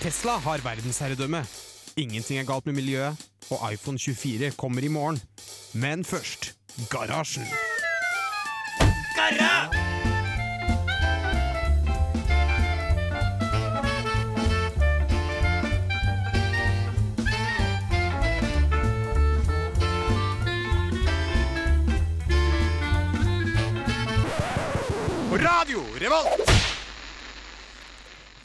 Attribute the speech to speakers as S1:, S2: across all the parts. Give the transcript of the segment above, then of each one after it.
S1: Tesla har verdensherredømme. Ingenting er galt med miljøet, og iPhone 24 kommer i morgen. Men først garasjen.
S2: Radio Revolt!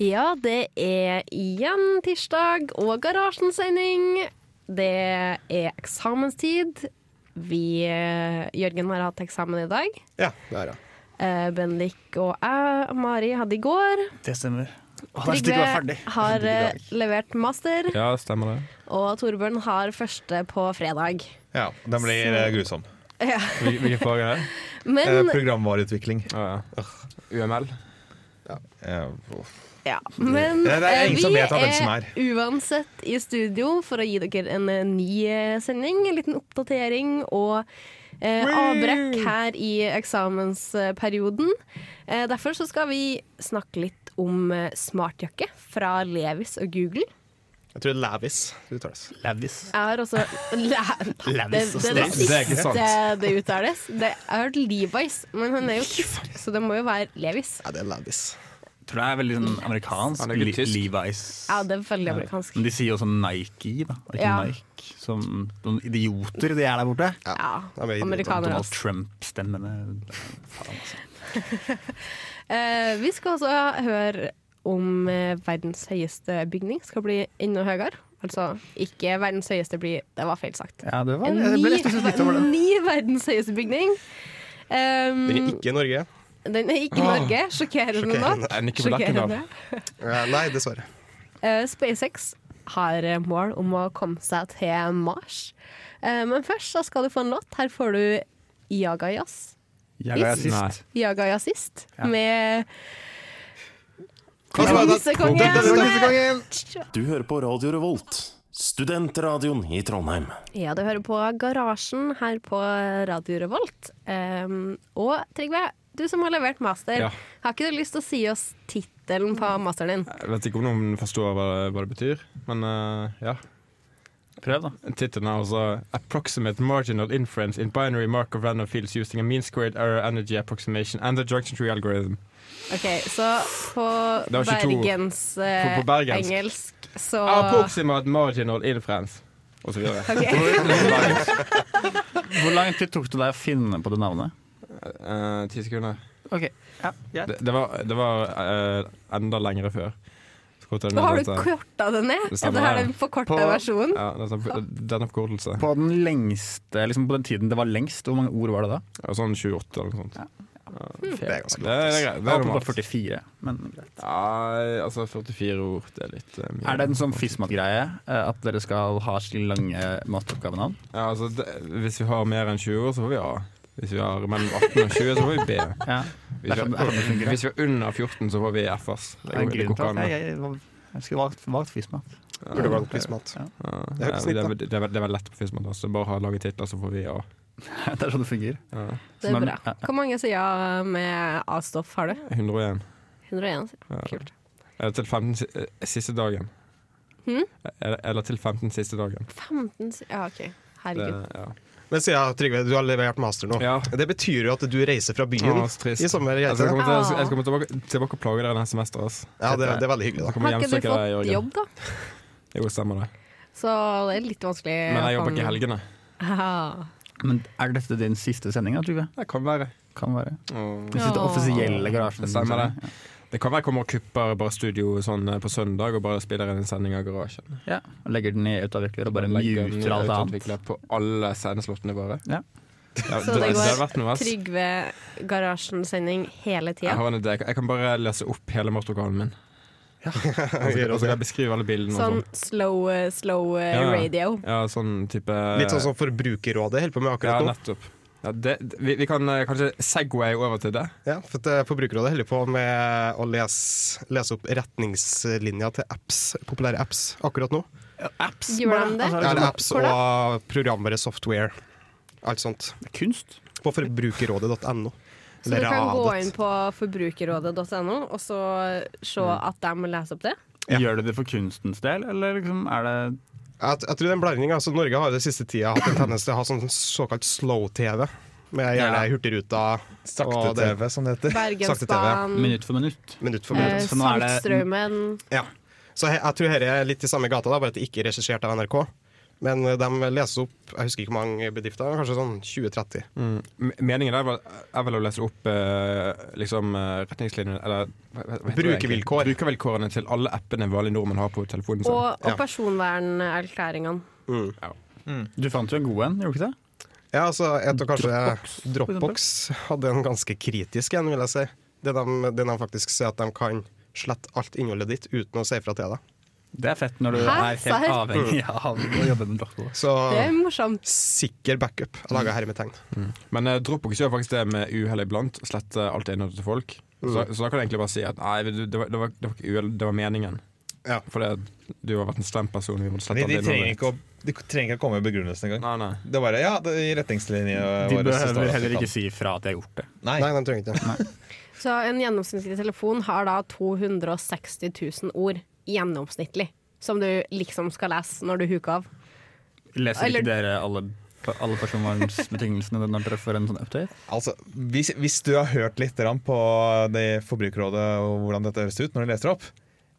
S3: Ja, det er igjen tirsdag og garasjensending. Det er eksamenstid. Vi eh, Jørgen har hatt eksamen i dag.
S4: Ja, det er det.
S3: Eh, Bendik og jeg, Mari, hadde i går.
S5: Det stemmer.
S3: Trygve har eh, levert master,
S6: Ja, stemmer det.
S3: og Torbjørn har første på fredag.
S4: Ja, Den blir eh, grusom.
S6: Hvil- Hvilke fag er det?
S4: Eh,
S3: Men,
S4: programvareutvikling.
S6: Å ja. UML?
S4: Eh,
S3: ja, men
S4: Det- det er
S3: eh,
S4: ingen
S3: vi
S4: som vet av hvem som
S3: er uansett i studio for å gi dere en eh, ny eh, sending, en liten oppdatering og eh, avbrekk her i eksamensperioden. Eh, derfor så skal vi snakke litt om eh, smartjakke fra Levis og Google.
S4: jeg tror Lavis. Du tar det.
S5: Lavis.
S3: Jeg har også Læ... Det,
S5: Levis
S3: det
S5: og
S3: er det
S5: Stavis.
S3: siste
S6: Det er ikke sant.
S3: det uttales. Det, jeg har hørt Levis, men han er jo tysk, så det må jo være Levis.
S4: Ja, det er Lavis.
S5: Tror det er veldig sånn amerikansk.
S6: Han er ikke
S5: Le-
S6: tysk.
S5: Levi's.
S3: Ja, det er veldig amerikansk.
S5: Men de sier jo sånn Nike, da. og Ikke
S3: Ja.
S5: Nike. Som noen idioter de er der borte.
S3: Ja,
S4: Ja, men-
S3: amerikanere,
S5: Donald
S3: altså.
S5: Trump-stemmene. Faen, altså.
S3: Eh, vi skal også høre om eh, verdens høyeste bygning skal bli enda høyere. Altså ikke verdens høyeste blir Det var feil sagt.
S5: Ja, det var
S3: En
S5: jeg ble
S3: ny,
S5: nesten litt over det.
S3: ny verdens høyeste bygning. Um,
S4: Den er ikke i Norge.
S3: den er ikke i Norge. Sjokkerende nok.
S6: Er den ikke på Lerkendal?
S4: Eh, nei, dessverre.
S3: Eh, SpaceX har eh, mål om å komme seg til Mars. Eh, men først så skal du få en låt. Her får du Jaga Jazz.
S5: Jeg er
S3: Is?
S5: sist.
S3: Jaga Jazzist
S5: Ja.
S3: med
S4: Kongen!
S3: Kongen.
S7: Du hører på Radio Revolt, studentradioen i Trondheim.
S3: Ja, du hører på Garasjen her på Radio Revolt. Um, og Trygve, du som har levert master,
S6: Ja.
S3: har ikke du lyst til å si oss tittelen på masteren din?
S6: Jeg vet ikke om noen forstår hva, hva det betyr, men eh, ja.
S5: Prøv, da.
S6: Tittelen er altså 'Approximate margin of inference in binary mark of random fields using a mean squared error energy approximation and the junction tree algorithm'.
S3: Ok, Så på
S6: Det var ikke to.
S3: bergens, eh,
S6: På- på bergensk. Ah,
S3: engelsk så
S6: Approximate margin of inference. Og så videre.
S5: Hvor lang tid tok det deg å finne på det navnet?
S6: Eh, Ti sekunder.
S5: Ok, ja,
S6: Det, det var, det var eh, enda lengre før. Så kortet
S3: Nå har
S6: ned
S3: du
S6: dette.
S3: korta det ned.
S6: Det
S3: Det
S6: stemmer,
S3: her er
S6: ja.
S3: den forkorta
S5: På-
S3: versjonen.
S6: Ja, det er sånn- det er en oppkortelse.
S5: På den lengste, liksom på den tiden det var lengst, hvor mange ord var det da?
S6: Ja, Sånn 28 eller noe sånt.
S4: Det er ganske
S6: Det er, det er, greit.
S5: Jeg
S6: det er
S5: håper på
S6: normalt.
S5: 44, men greit.
S6: Nei, altså 44 ord, det er litt eh, mye.
S5: Er det en sånn FISMAT-greie eh, at dere skal ha slik lange masteroppgavenavn?
S6: Ja, altså, det, hvis vi har mer enn 20 ord, så får vi A. Hvis vi har mellom 18 og 20, så får vi B.
S5: Ja.
S6: Hvis
S5: sånn-
S6: vi, har, hvis vi har under 14, så får vi F, ass. Det
S5: Det er en
S6: går- det
S5: grunn
S6: går
S5: til
S6: ikke an,
S5: at
S6: da.
S5: jeg, jeg, jeg skulle valgt, valgt FISMAT.
S4: Burde valgt prismat.
S6: Ja,
S4: Det er
S6: ja,
S4: ikke
S6: Eh, det,
S4: snitt,
S6: er- det, er vel- det er vel lett på Fismat. Altså. Bare ha laget titler, så får vi A.
S5: Det er sånn det fungerer.
S6: Ja.
S3: Det er
S5: Men-
S3: bra. Hvor mange sider med A-stoff har du?
S6: 101.
S3: 101 sider.
S6: Ja.
S3: Kult.
S6: Eller til 15 si- eh, siste dagen.
S3: Hm?
S6: Eller, eller til 15 siste dagen.
S3: 15 sider Ja, OK.
S6: Det,
S3: Herregud.
S6: ja.
S4: Men sier jeg, Trygve, du har levert master nå.
S6: Ja.
S4: Det betyr jo at du reiser fra byen
S6: Å, så trist. Altså,
S4: i sommer.
S6: Jeg
S4: gjør ikke
S6: skal
S4: det?
S6: komme, til, jeg skal- jeg skal komme tilbake, tilbake og plage dere neste semester. Ass.
S4: Ja, det, det er veldig hyggelig,
S6: Jeg
S4: da.
S6: kommer
S3: Har ikke du
S6: hjemsøke deg,
S3: fått
S6: Jørgen.
S3: jobb, da?
S6: Jo, stemmer det.
S3: Så det er litt vanskelig.
S6: Men jeg
S3: å
S6: jobber ikke i
S3: komme-
S6: helgene.
S3: Ah.
S5: Men er dette din siste sending, da, Trygve?
S6: Det kan være.
S5: Kan være.
S6: Åh.
S5: Hvis det
S3: Åh.
S5: offisielle garasjen liksom.
S6: Det stemmer det. Det kan være jeg kommer og kupper bare studio sånn eh, på søndag og bare spiller inn en sending av garasjen.
S5: Ja. Og legger den i autoavvikler og bare
S6: Legger den
S5: muter alt annet.
S6: utvikler På alle sendeslottene våre.
S5: Ja.
S6: Ja,
S3: Så det
S6: det, det
S3: går
S6: har vært noe, ass.
S3: Trygve Garasjen-sending hele
S6: Jeg
S3: tida.
S6: har en idé. Jeg kan bare lese opp hele mortokalen min. Og så
S4: Gjør
S6: og så kan
S4: også det.
S6: jeg beskrive alle bildene.
S3: Sånn
S6: og sånn.
S3: slow, eh, slow eh,
S6: Ja, ja.
S3: radio.
S6: Ja, sånn type
S4: Litt sånn som Forbrukerrådet holder på med
S6: Ja,
S4: akkurat nå.
S6: nettopp. Ja, det, vi, vi kan eh, kanskje Segway over til det.
S4: Ja, for at eh, Forbrukerrådet holder på med å lese, lese opp retningslinjer til apps, populære apps akkurat nå.
S5: Apps,
S3: Gjør
S5: bare.
S3: de det?
S5: Altså,
S4: Ja, det
S5: liksom,
S4: er apps og programvare, software, alt sånt.
S5: kunst?
S4: På forbrukerrådet.no.
S3: Så du kan gå
S4: Radet.
S6: Mm.
S3: inn på forbrukerrådet.no og så se at de leser opp det?
S4: Ja.
S5: Gjør du det for kunstens del, eller liksom er det
S4: Jeg, jeg tror det er en blanding. Altså, Norge har jo det siste tida hatt en tendens til å ha sånn såkalt slow-TV. Med gjerne
S5: Ja.
S4: Hurtigruta, Og det-
S2: Sakte-TV, som det heter.
S3: Bergensbanen,
S5: minutt for minutt?
S4: minutt for
S3: eh,
S4: minutt.
S5: Så nå er det-
S3: Saltstraumen
S4: Ja. Så jeg, jeg tror dette er litt i samme gata, da, bare at det ikke er regissert av NRK. Men eh, de leser opp jeg husker ikke hvor mange bedrifter, kanskje sånn 20-30.
S5: Mm.
S6: M- Meningen der var- er vel å lese opp eh, liksom, eh, retningslinjene Eller hva- hva heter det egentlig?
S4: Brukervilkår.
S6: Brukervilkårene til alle appene vanlige nordmenn har på telefonen sin.
S3: og, og
S4: Ja.
S3: personvernerklæringene.
S4: Mm.
S5: Du fant jo en god en, gjorde du ikke det?
S4: Ja, altså, jeg tror
S5: Dropbox,
S4: kanskje
S5: for
S4: Dropbox hadde en ganske kritisk en, vil jeg si. Det de, det de faktisk sier at de kan slette alt innholdet ditt uten å si fra til deg.
S5: Det er fett når du
S3: Hæ?
S5: er helt
S3: Serr?
S5: avhengig av å jobbe med dropper.
S4: Så
S3: Det er morsomt.
S4: sikker backup. Jeg laga hermetegn.
S6: Men eh, Dropbox gjør faktisk det med uhell iblant. Slette alt innholdet til folk. Så,
S2: Mm.
S6: så da kan du egentlig bare si at nei, du- det var, det var, det var ikke uhell, det var meningen.
S4: Ja.
S6: Fordi at du har vært en slem person. Vi måtte slette
S2: De,
S6: alt
S2: de,
S6: innholdet
S2: trenger
S6: ditt.
S2: ikke å, de trenger ikke å komme med begrunnelsen engang.
S6: Nei, nei.
S2: Det er bare ja, det, i
S5: De
S2: retningslinjene våre så står
S5: behøver
S2: det at
S5: heller
S2: vi
S5: ikke si fra at de har gjort det.
S2: kan- Nei.
S4: Nei, de trenger ikke det.
S3: Så en gjennomsnittlig telefon har da 260 000 ord gjennomsnittlig. Som du liksom skal lese når du huker av.
S5: Leser
S3: Eller-
S5: ikke dere alle, alle personvernsbetingelsene når dere får en sånn update?
S2: Altså, hvis, hvis du har hørt litt grann på det Forbrukerrådet og hvordan dette høres ut når de leser opp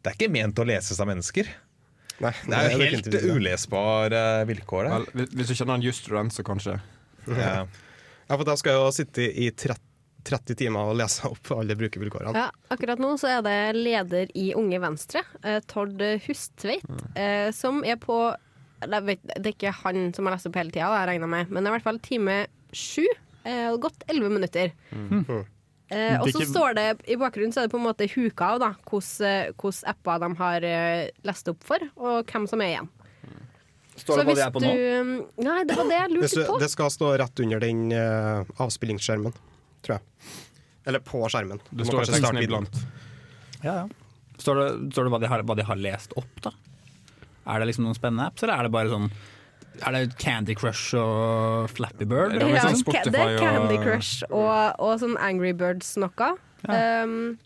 S2: Det er ikke ment å leses av mennesker.
S4: Nei,
S2: Det er jo helt
S4: definitivt ikke.
S2: ulesbare vilkår der.
S6: Vel, hvis, hvis du kjenner en jusstudent, så kanskje.
S2: Ja.
S4: Ja, for da skal jeg jo sitte i 30, 30 timer og lese opp alle brukervilkårene.
S3: Ja, akkurat nå så er det leder i Unge Venstre, eh, Tord Hustveit,
S5: Mm.
S3: eh, som er på eller jeg vet, Det er ikke han som har lest opp hele tida, har jeg regna med, men det er i hvert fall time sju. eh, og Gått elleve minutter.
S4: Mm.
S3: Eh, og
S5: Det er
S3: så
S5: ikke-
S3: står det i bakgrunnen så er det på en måte huka av da, hvilke apper de har eh, lest opp for, og hvem som er igjen.
S5: Står det på
S3: hvis
S5: det er på nå?
S3: du- mm, Nei, det var det jeg lurte
S4: Hvis du,
S3: på.
S4: det skal stå rett under den eh, avspillingsskjermen, tror jeg. Eller på skjermen.
S6: Det
S4: må
S6: står
S4: kanskje
S6: i teksten
S4: starte videoen.
S6: iblant.
S5: Ja, ja. Står det, står det hva, de har, hva de har lest opp, da? Er det liksom noen spennende apps, eller er det bare sånn Er det Candy Crush og Flappy Bird?
S6: Det er jo
S3: Ja,
S6: liksom
S3: ca-
S6: Spotify
S3: det er
S6: og-
S3: Candy Crush og, og sånn Angry Birds noe.
S5: Ja.
S3: Um,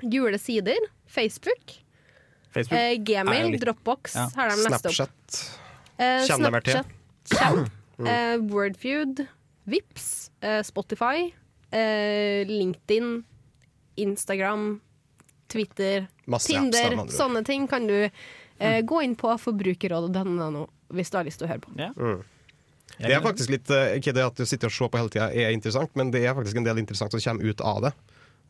S3: julesider, Facebook,
S5: Facebook?
S3: eh,
S5: Er jo
S3: Gmail,
S5: litt-
S3: Dropbox
S5: Ja.
S3: har de lest opp.
S4: Snapchat.
S3: Eh,
S4: Kjenner meg til. Mm.
S3: Snapchat, Kjenn, eh, Wordfeud, Vips, eh, Spotify, eh, LinkedIn, Instagram, Twitter,
S4: Masse apps, da,
S3: Tinder.
S4: med andre ord. Mm.
S3: Sånne ting kan du eh, gå inn på forbrukerrådet.no hvis du har lyst til å høre på.
S5: Ja.
S4: Mm. Det er faktisk litt eh, Ikke det at du sitter og ser på hele tida er interessant, men det er faktisk en del interessant som kommer ut av det.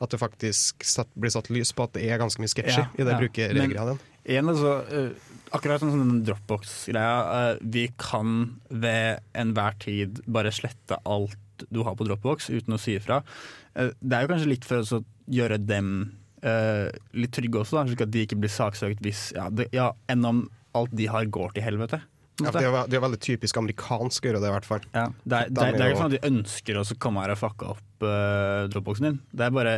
S4: At det faktisk satt, blir satt lys på at det er ganske mye sketsjy
S5: Ja,
S4: i det
S5: ja.
S4: brukergreia din.
S5: Igjen, altså, eh, akkurat sånn som den Dropbox-greia. eh, vi kan ved enhver tid bare slette alt du har på Dropbox, uten å si ifra. Eh, det er jo kanskje litt for oss å gjøre dem eh, litt trygge også, da, slik at de ikke blir saksøkt hvis ja, det, ja, Enn om alt de har, går til helvete. på en
S4: Ja,
S5: måte.
S4: for det, er, ve- det er veldig typisk amerikansk å gjøre det, i hvert fall.
S5: Ja, det, er, det, er, det er ikke sånn at vi ønsker oss å komme her og fucke opp eh, dropboxen din. Det er bare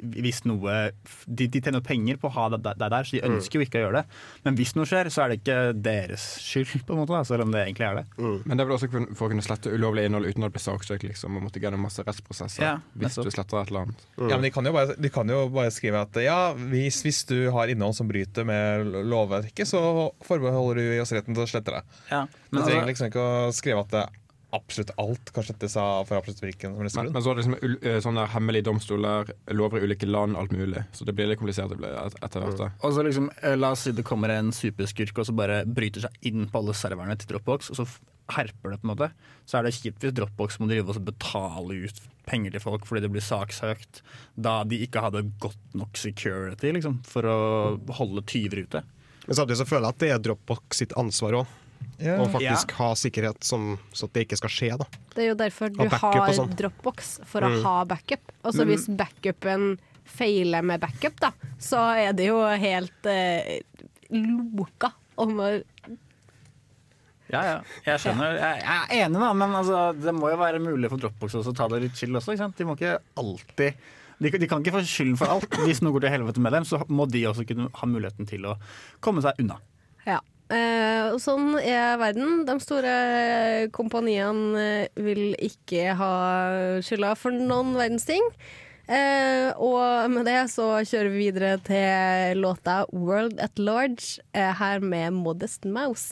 S5: hvis noe De, de tjener penger på å ha deg der, der, så de ønsker jo ikke å gjøre det. Men hvis noe skjer, så er det ikke deres skyld, på en måte, da, selv om det egentlig er det.
S2: Mm.
S6: Men det er vel også kun- for å kunne slette ulovlig innhold uten at det blir saksøkt, liksom. Og måtte gjennom masse rettsprosesser
S5: Ja,
S6: hvis
S5: nettopp.
S6: du sletter et eller annet.
S2: Ja, men de kan, jo bare, de kan jo bare skrive at ja, hvis, hvis du har innhold som bryter med lo- lovverket, så forbeholder du oss retten til å slette det. Du
S5: Men,
S2: trenger
S5: altså,
S2: liksom ikke å skrive at det absolutt alt kan slettes av for absolutt hvilken som helst
S6: Men,
S2: grunn.
S6: men så er det liksom ul- eh, sånne hemmelige domstoler, lover i ulike land, alt mulig. Så det blir litt komplisert det blir et- etter hvert. da.
S5: og så liksom, eh, la oss si det kommer en superskurk og så bare bryter seg inn på alle serverne til Dropbox, og så f- herper det, på en måte. Så er det kjipt hvis Dropbox må drive og så betale ut penger til folk fordi det blir saksøkt, da de ikke hadde godt nok security liksom, for å holde tyver ute.
S4: Men samtidig så føler jeg at det er Dropbox sitt ansvar òg,
S2: Ja.
S4: å faktisk ha sikkerhet som, så at det ikke skal skje. da
S3: Det er jo derfor du
S4: Og backup og
S3: har
S4: sånn. Mm.
S3: Dropbox, for å ha backup. Og så hvis backupen feiler med backup, da, så er det jo helt eh, loka om å
S5: Ja, ja. Jeg skjønner. Jeg, jeg er enig, da, men altså, det må jo være mulig for Dropbox også å ta det litt chill også. Ikke sant? De må ikke alltid de, de kan ikke få skylden for alt. Hvis noe går til helvete med dem, så må de også kunne ha muligheten til å komme seg unna.
S3: Ja. Eh, og sånn er verden. De store kompaniene eh, vil ikke ha skylda for noen verdens ting. Eh, og med det så kjører vi videre til låta 'World at Large', eh, her med Modest Mouse.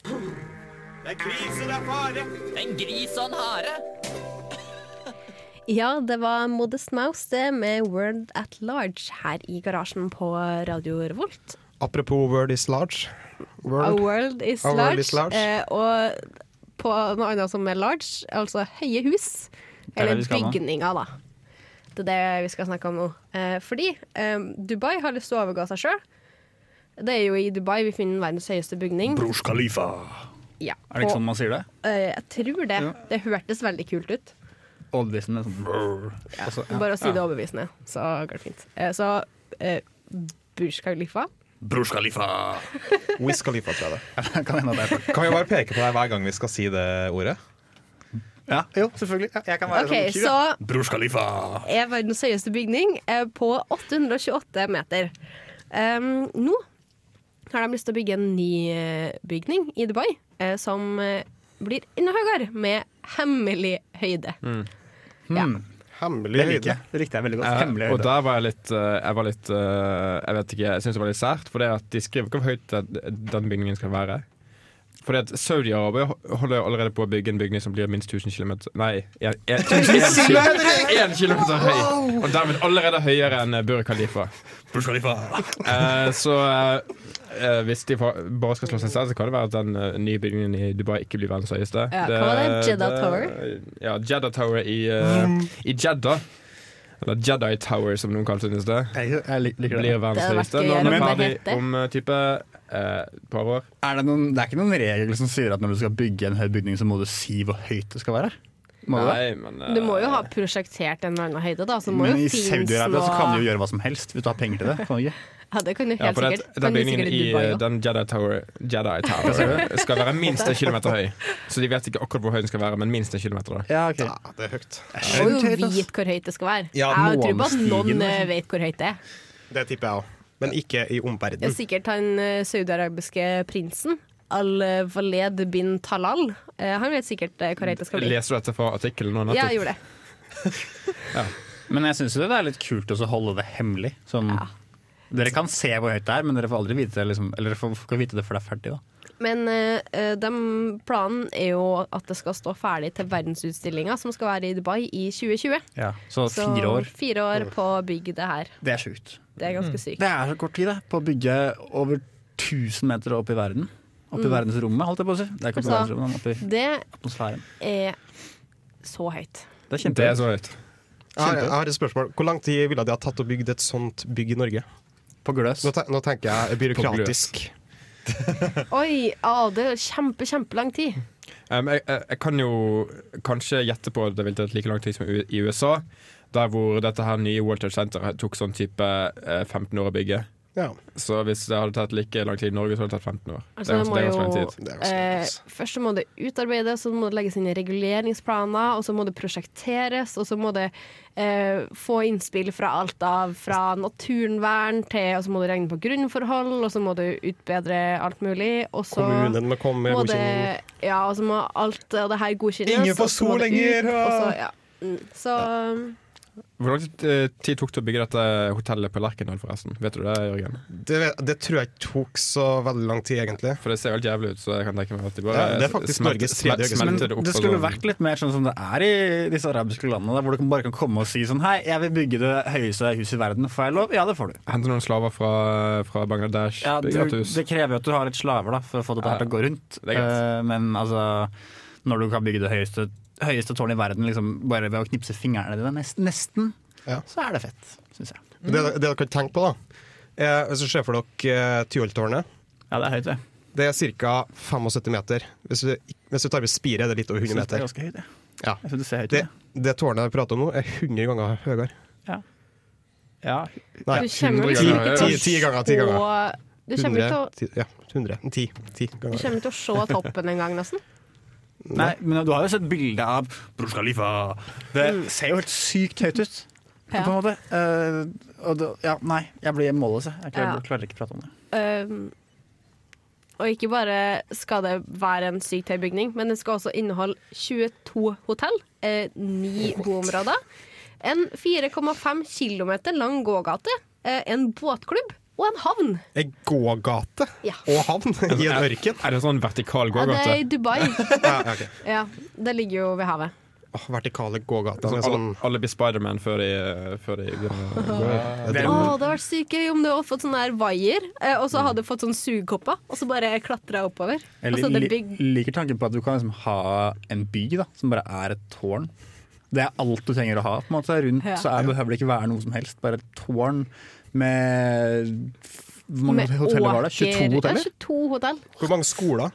S3: Ja, det var Modest Mouse det med 'World at Large' her i garasjen på Radio Revolt.
S4: Apropos Word is large.
S3: A
S4: World.
S3: world is
S4: A
S3: large.
S4: world is large.
S3: Eh, og på noe annet som er large, altså høye hus,
S5: er det
S3: eller
S5: vi skal nå.
S3: bygninger, da. Det er det vi skal snakke om nå. Eh, fordi eh, Dubai har lyst til å overgå seg sjøl. Det er jo i Dubai vi finner verdens høyeste bygning.
S7: Brors Khalifa.
S3: Ja,
S5: Er det ikke
S3: og,
S5: sånn man sier det?
S3: eh, jeg tror det. Det hørtes veldig kult ut.
S5: Overbevisende sånn brrr. Altså, ja.
S3: Bare å si det overbevisende, så går det fint. Eh, så eh, Burj Khalifa
S7: Brors Khalifa.
S4: Wiz Khalifa, tror jeg det.
S5: Kan hende at det er
S2: Kan vi bare peke på deg hver gang vi skal si det ordet?
S5: Ja, jo, selvfølgelig. Ja, jeg kan være
S3: OK,
S5: sånn
S3: så
S7: Brors Khalifa.
S3: er verdens høyeste bygning eh, på 828 meter. Ehm, nå har de lyst til å bygge en ny eh, bygning i Dubai, eh, som eh, blir enda høyere, med hemmelig høyde. Ja.
S4: Hemmelig høyde.
S5: Det likte jeg veldig godt.
S6: Eh,
S5: Hemmelig
S6: og
S5: høyde.
S6: der var jeg litt eh, Jeg var litt eh, Jeg vet ikke, jeg syns det var litt sært. For det at de skriver ikke hvor høyt den- den bygningen skal være. Fordi at Saudi-Arabia holder allerede på å bygge en bygning som blir minst 1000 km Nei, 1 km høy! Og dermed allerede høyere enn Burr Khalifa.
S7: Brors Khalifa.
S6: Eh, så eh, eh, hvis de fa- bare skal slå seg selv, så kan det være at den eh, nye bygningen i Dubai ikke blir verdens høyeste.
S3: Ja, hva var det? Jeddah Tower?
S6: Ja, Jeddah Tower i, eh, i Jeddah. Eller Jedi Tower, som noen kalte den i sted.
S5: Jeg, jeg lik- liker det.
S6: Blir verdens
S3: Det hadde vært
S6: høyeste.
S3: gøy
S6: Når den er
S3: om
S6: ferdig
S3: det heter.
S6: om eh, type eh, et par år.
S5: Er det, noen, det er ikke noen regel som sier at når du skal bygge en høy bygning, så må du si hvor høyt det skal være? Må du det?
S6: Nei, men eh,
S3: Du må jo ha prosjektert en eller annen høyde, da. Så må
S5: Men i
S3: jo fins
S5: Saudi-Arabia så kan du
S3: noe
S5: jo gjøre hva som helst hvis du har penger til det. Kan du ikke?
S3: Ja, det kan du
S6: ja,
S3: helt
S6: for det,
S3: sikkert.
S6: den
S3: Kan du
S6: bygningen
S3: sikkert i
S6: i
S3: Dubai
S6: eh,
S3: også.
S6: den Jedi Tower, Jedi Tower skal være minst en kilometer høy. Så de vet ikke akkurat hvor høy den skal være, men minst en kilometer. Da.
S5: Ja, okay.
S4: Ja, det er høyt.
S3: Jeg må jo vite hvor høyt det skal være.
S2: Ja,
S3: jeg tror bare at
S5: månestigen,
S3: noen eh,
S5: liksom.
S3: vet hvor høyt det er.
S4: Det tipper jeg òg. Men ikke i
S3: Det
S4: omverdenen.
S3: er sikkert han eh, saudiarabiske prinsen. Al-Waled bin Talal. Eh, Han vet sikkert eh, hvor høyt det skal bli.
S6: Leser du dette fra artikkelen nå?
S3: Ja,
S6: nettopp?
S3: jeg gjorde det.
S5: Men jeg syns det er litt kult også å holde det hemmelig. Sånn,
S3: Ja.
S5: Dere kan se hvor høyt det er, men dere får aldri vite det, liksom, eller dere får, får ikke vite det før det er ferdig. Da.
S3: Men eh, eh, den planen er jo at det skal stå ferdig til verdensutstillinga som skal være i Dubai i 2020.
S5: Så
S3: Så
S5: fire år. Mm.
S3: fire år på å bygge det her.
S5: Det er sjukt.
S3: Det er ganske sykt.
S5: Det er så kort tid det, på å bygge over 1000 meter opp i verden. Opp i verdensrommet, holdt jeg på å si. Det er ikke opp i
S3: Så-
S5: verdensrommet, men opp i
S3: Det
S5: atmosfæren.
S3: er så høyt.
S5: Det er kjempe-
S6: Det er så høyt.
S4: Jeg har, jeg har et spørsmål. Hvor lang tid ville det ha tatt å bygge et sånt bygg i Norge?
S5: På gløs.
S4: Nå, ten- nå tenker jeg byråkratisk.
S3: Oi, ah, det er kjempe, kjempelang tid.
S6: Um, jeg, jeg, jeg kan jo kanskje gjette på at det vil ta like lang tid som u- i USA. Der hvor dette her nye World Trade Center tok sånn type eh, 15 år å bygge.
S4: Ja,
S6: Så hvis det hadde tatt like lang tid i Norge, så hadde det tatt 15 år.
S3: Altså, det
S6: ganske-
S3: må
S6: det er ganske
S3: jo,
S6: lang tid.
S4: det er ganske
S3: eh, først så må det utarbeides, så må det legges inn i reguleringsplaner, og så må det prosjekteres, og så må det eh, få innspill fra alt av fra naturvern til Og så må du regne på grunnforhold, og så må du utbedre alt mulig, og så
S4: Kommunen må komme med
S3: må
S4: godkjenning.
S3: det Ja, og så må alt eh, det her godkjennes.
S2: Ingen får
S3: og så må
S2: sol
S3: det
S2: lenger,
S3: ut,
S2: ja.
S3: og Så, ja. Mm, så
S6: Hvor lang tid, eh, tid tok det å bygge dette hotellet på Lerkendal, forresten? Vet du det, Jørgen?
S4: Det, det tror jeg ikke tok så veldig lang tid, egentlig.
S6: For det ser jo helt jævlig ut, så jeg kan tenke meg at eh, de bare
S4: Ja, det er faktisk
S6: smelter-
S4: Norges tredje
S6: smel-
S4: høyeste.
S5: Men
S6: smelter det opp.
S5: det
S6: og
S5: skulle
S6: sånn.
S5: vært litt mer sånn som det er i disse arabiske landene, der, hvor du kan- bare kan komme og si sånn Hei, jeg vil bygge det høyeste huset i verden, får jeg lov? Ja, det får du.
S6: Hente noen slaver fra, fra Bangladesh,
S5: Ja, du
S6: bygge et hus.
S5: det krever jo at du har litt slaver da, for å få dette her til å gå rundt.
S6: det er greit.
S5: Eh, Men altså, når du kan bygge det høyeste, høyeste tårnet i verden liksom, bare ved å knipse fingrene dine, nesten, nesten
S4: Ja.
S5: så er det fett, syns jeg.
S4: Det, det dere kan tenke på, da, eh, hvis du ser for dere eh, Tyholttårnet,
S5: Ja, det er høyt, det.
S4: det er ca. 75 meter. Hvis du, hvis du tar med spiret, er det litt over 100
S5: Det er
S4: meter.
S5: ganske høyt, ja.
S4: Ja.
S5: Jeg synes det ser høyt
S4: Det,
S5: ut.
S4: det tårnet jeg prater om nå, er 100 ganger høyere.
S5: Ja.
S4: Nei,
S3: du kommer
S6: ganger
S3: liksom
S6: høyere.
S3: ikke til å
S4: Ti- ti ganger, ti ganger.
S3: se- Du kommer ikke til
S4: 100,
S3: å-
S4: ti, ja, 100, 10, 10
S3: du
S4: ganger.
S3: kommer ikke til å se toppen en gang, nesten.
S5: Nei, men du har jo sett bilde av Brors Khalifa. Det ser jo helt sykt høyt ut.
S3: Mm. Ja.
S5: På en måte. Eh, og det, ja, nei, jeg blir målløs. jeg. Jeg klarer,
S3: Ja.
S5: klarer ikke å prate om det.
S3: Um, og ikke bare skal det være en sykt høy bygning, men den skal også inneholde 22 hotell, eh, ni boområder, en 4,5 km lang gågate, eh, en båtklubb og en havn.
S4: En gågate
S3: Ja.
S4: og havn i en ørken.
S6: Er det sånn vertikal
S3: Ja, det er
S6: gågate?
S3: i Dubai.
S4: Ja, ok.
S3: Ja, det ligger jo ved havet.
S4: Åh, vertikale gågater.
S6: Sånn,
S4: Med
S6: alle,
S4: sånn
S6: alle blir Spiderman før de eh, før de begynner å gå.
S3: Å, det hadde vært sykt gøy om du hadde fått sånne her vaier, eh, og så hadde du fått sånn sugekopper, og så bare klatra oppover. Altså,
S5: Jeg
S3: Og så hadde
S5: li
S3: bygd
S5: liker tanken på at du kan liksom ha en by da, som bare er et tårn. Det er alt du trenger å ha. på en måte. Rundt
S3: Ja.
S5: så er, behøver det ikke være noe som helst. Bare et tårn med Hvor mange
S3: med
S5: hoteller var det?
S3: åker-
S5: 22 hoteller?
S3: Ja, 22 hotell.
S4: Hvor mange skoler?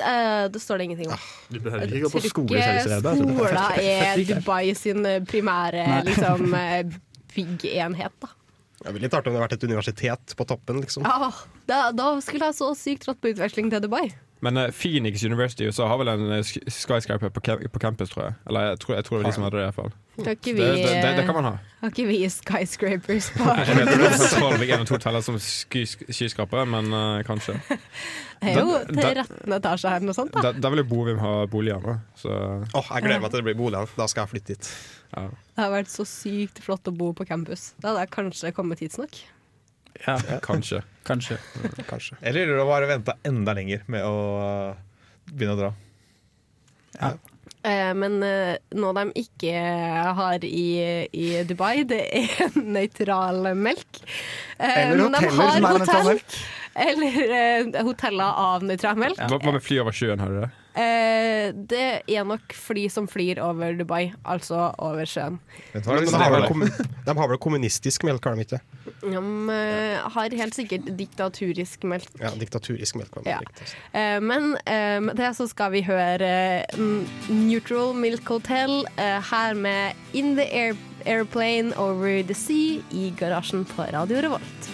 S3: Eh, det står det ingenting om.
S5: Du behøver
S3: Tror ikke skola er Dubai sin eh, primære liksom, eh, byggenhet, da.
S4: Det er litt artig om det har vært et universitet på toppen, liksom.
S3: Ja, da, da skulle jeg så sykt dratt på utveksling til Dubai.
S6: Men eh, Phoenix University i USA har vel en eh, sk- skyscraper på, cam- på campus, tror jeg. Eller jeg tror, jeg tror det var de som hadde det, iallfall.
S3: Har ikke
S6: Det,
S3: vi, eh,
S6: det, det, det kan man ha.
S3: har ikke vi skyscrapers på
S6: Jeg vet det er sentralt ligger en og to teller som sky- skyskrapere, men eh, kanskje.
S3: Det er jo
S6: Da-
S3: til 13. etasje her, noe sånt, da.
S6: Der, der vil jo Bovim ha boliger nå, så
S4: Åh, jeg gleder meg til det blir boliger. Da skal jeg flytte dit.
S6: ja.
S3: Det har vært så sykt flott å bo på campus. Da hadde jeg kanskje kommet tidsnok.
S5: Ja,
S6: Kanskje.
S5: kanskje.
S4: Kanskje.
S2: Eller ville det bare venta enda lenger med å begynne å dra?
S3: Eh, men eh, noe de ikke har i, i Dubai, det er nøytral melk. Eh,
S5: Eller
S3: men de
S5: hoteller
S3: har
S5: som er nøytral
S3: hotell-
S5: melk.
S3: Eller eh, hoteller av nøytral melk.
S6: Hva, hva med fly over sjøen, har du det?
S3: Eh, det er nok fly som flyr over Dubai, altså over sjøen.
S2: Vet du hva,
S4: Men de,
S2: hvis det
S4: har
S2: var
S4: vel
S2: det.
S4: kommu- de har vel kommunistisk melk, har de ikke? det?
S3: De eh, har helt sikkert diktaturisk melk.
S4: Ja, diktaturisk melk. var det
S3: Ja.
S4: riktig.
S3: Eh, men eh, med det så skal vi høre eh, N- Neutral Milk Hotel eh, her med In the Air Airplane Over the Sea i garasjen på Radio Revolt.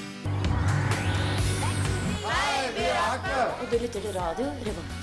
S8: Og du lytter til radio Revolt.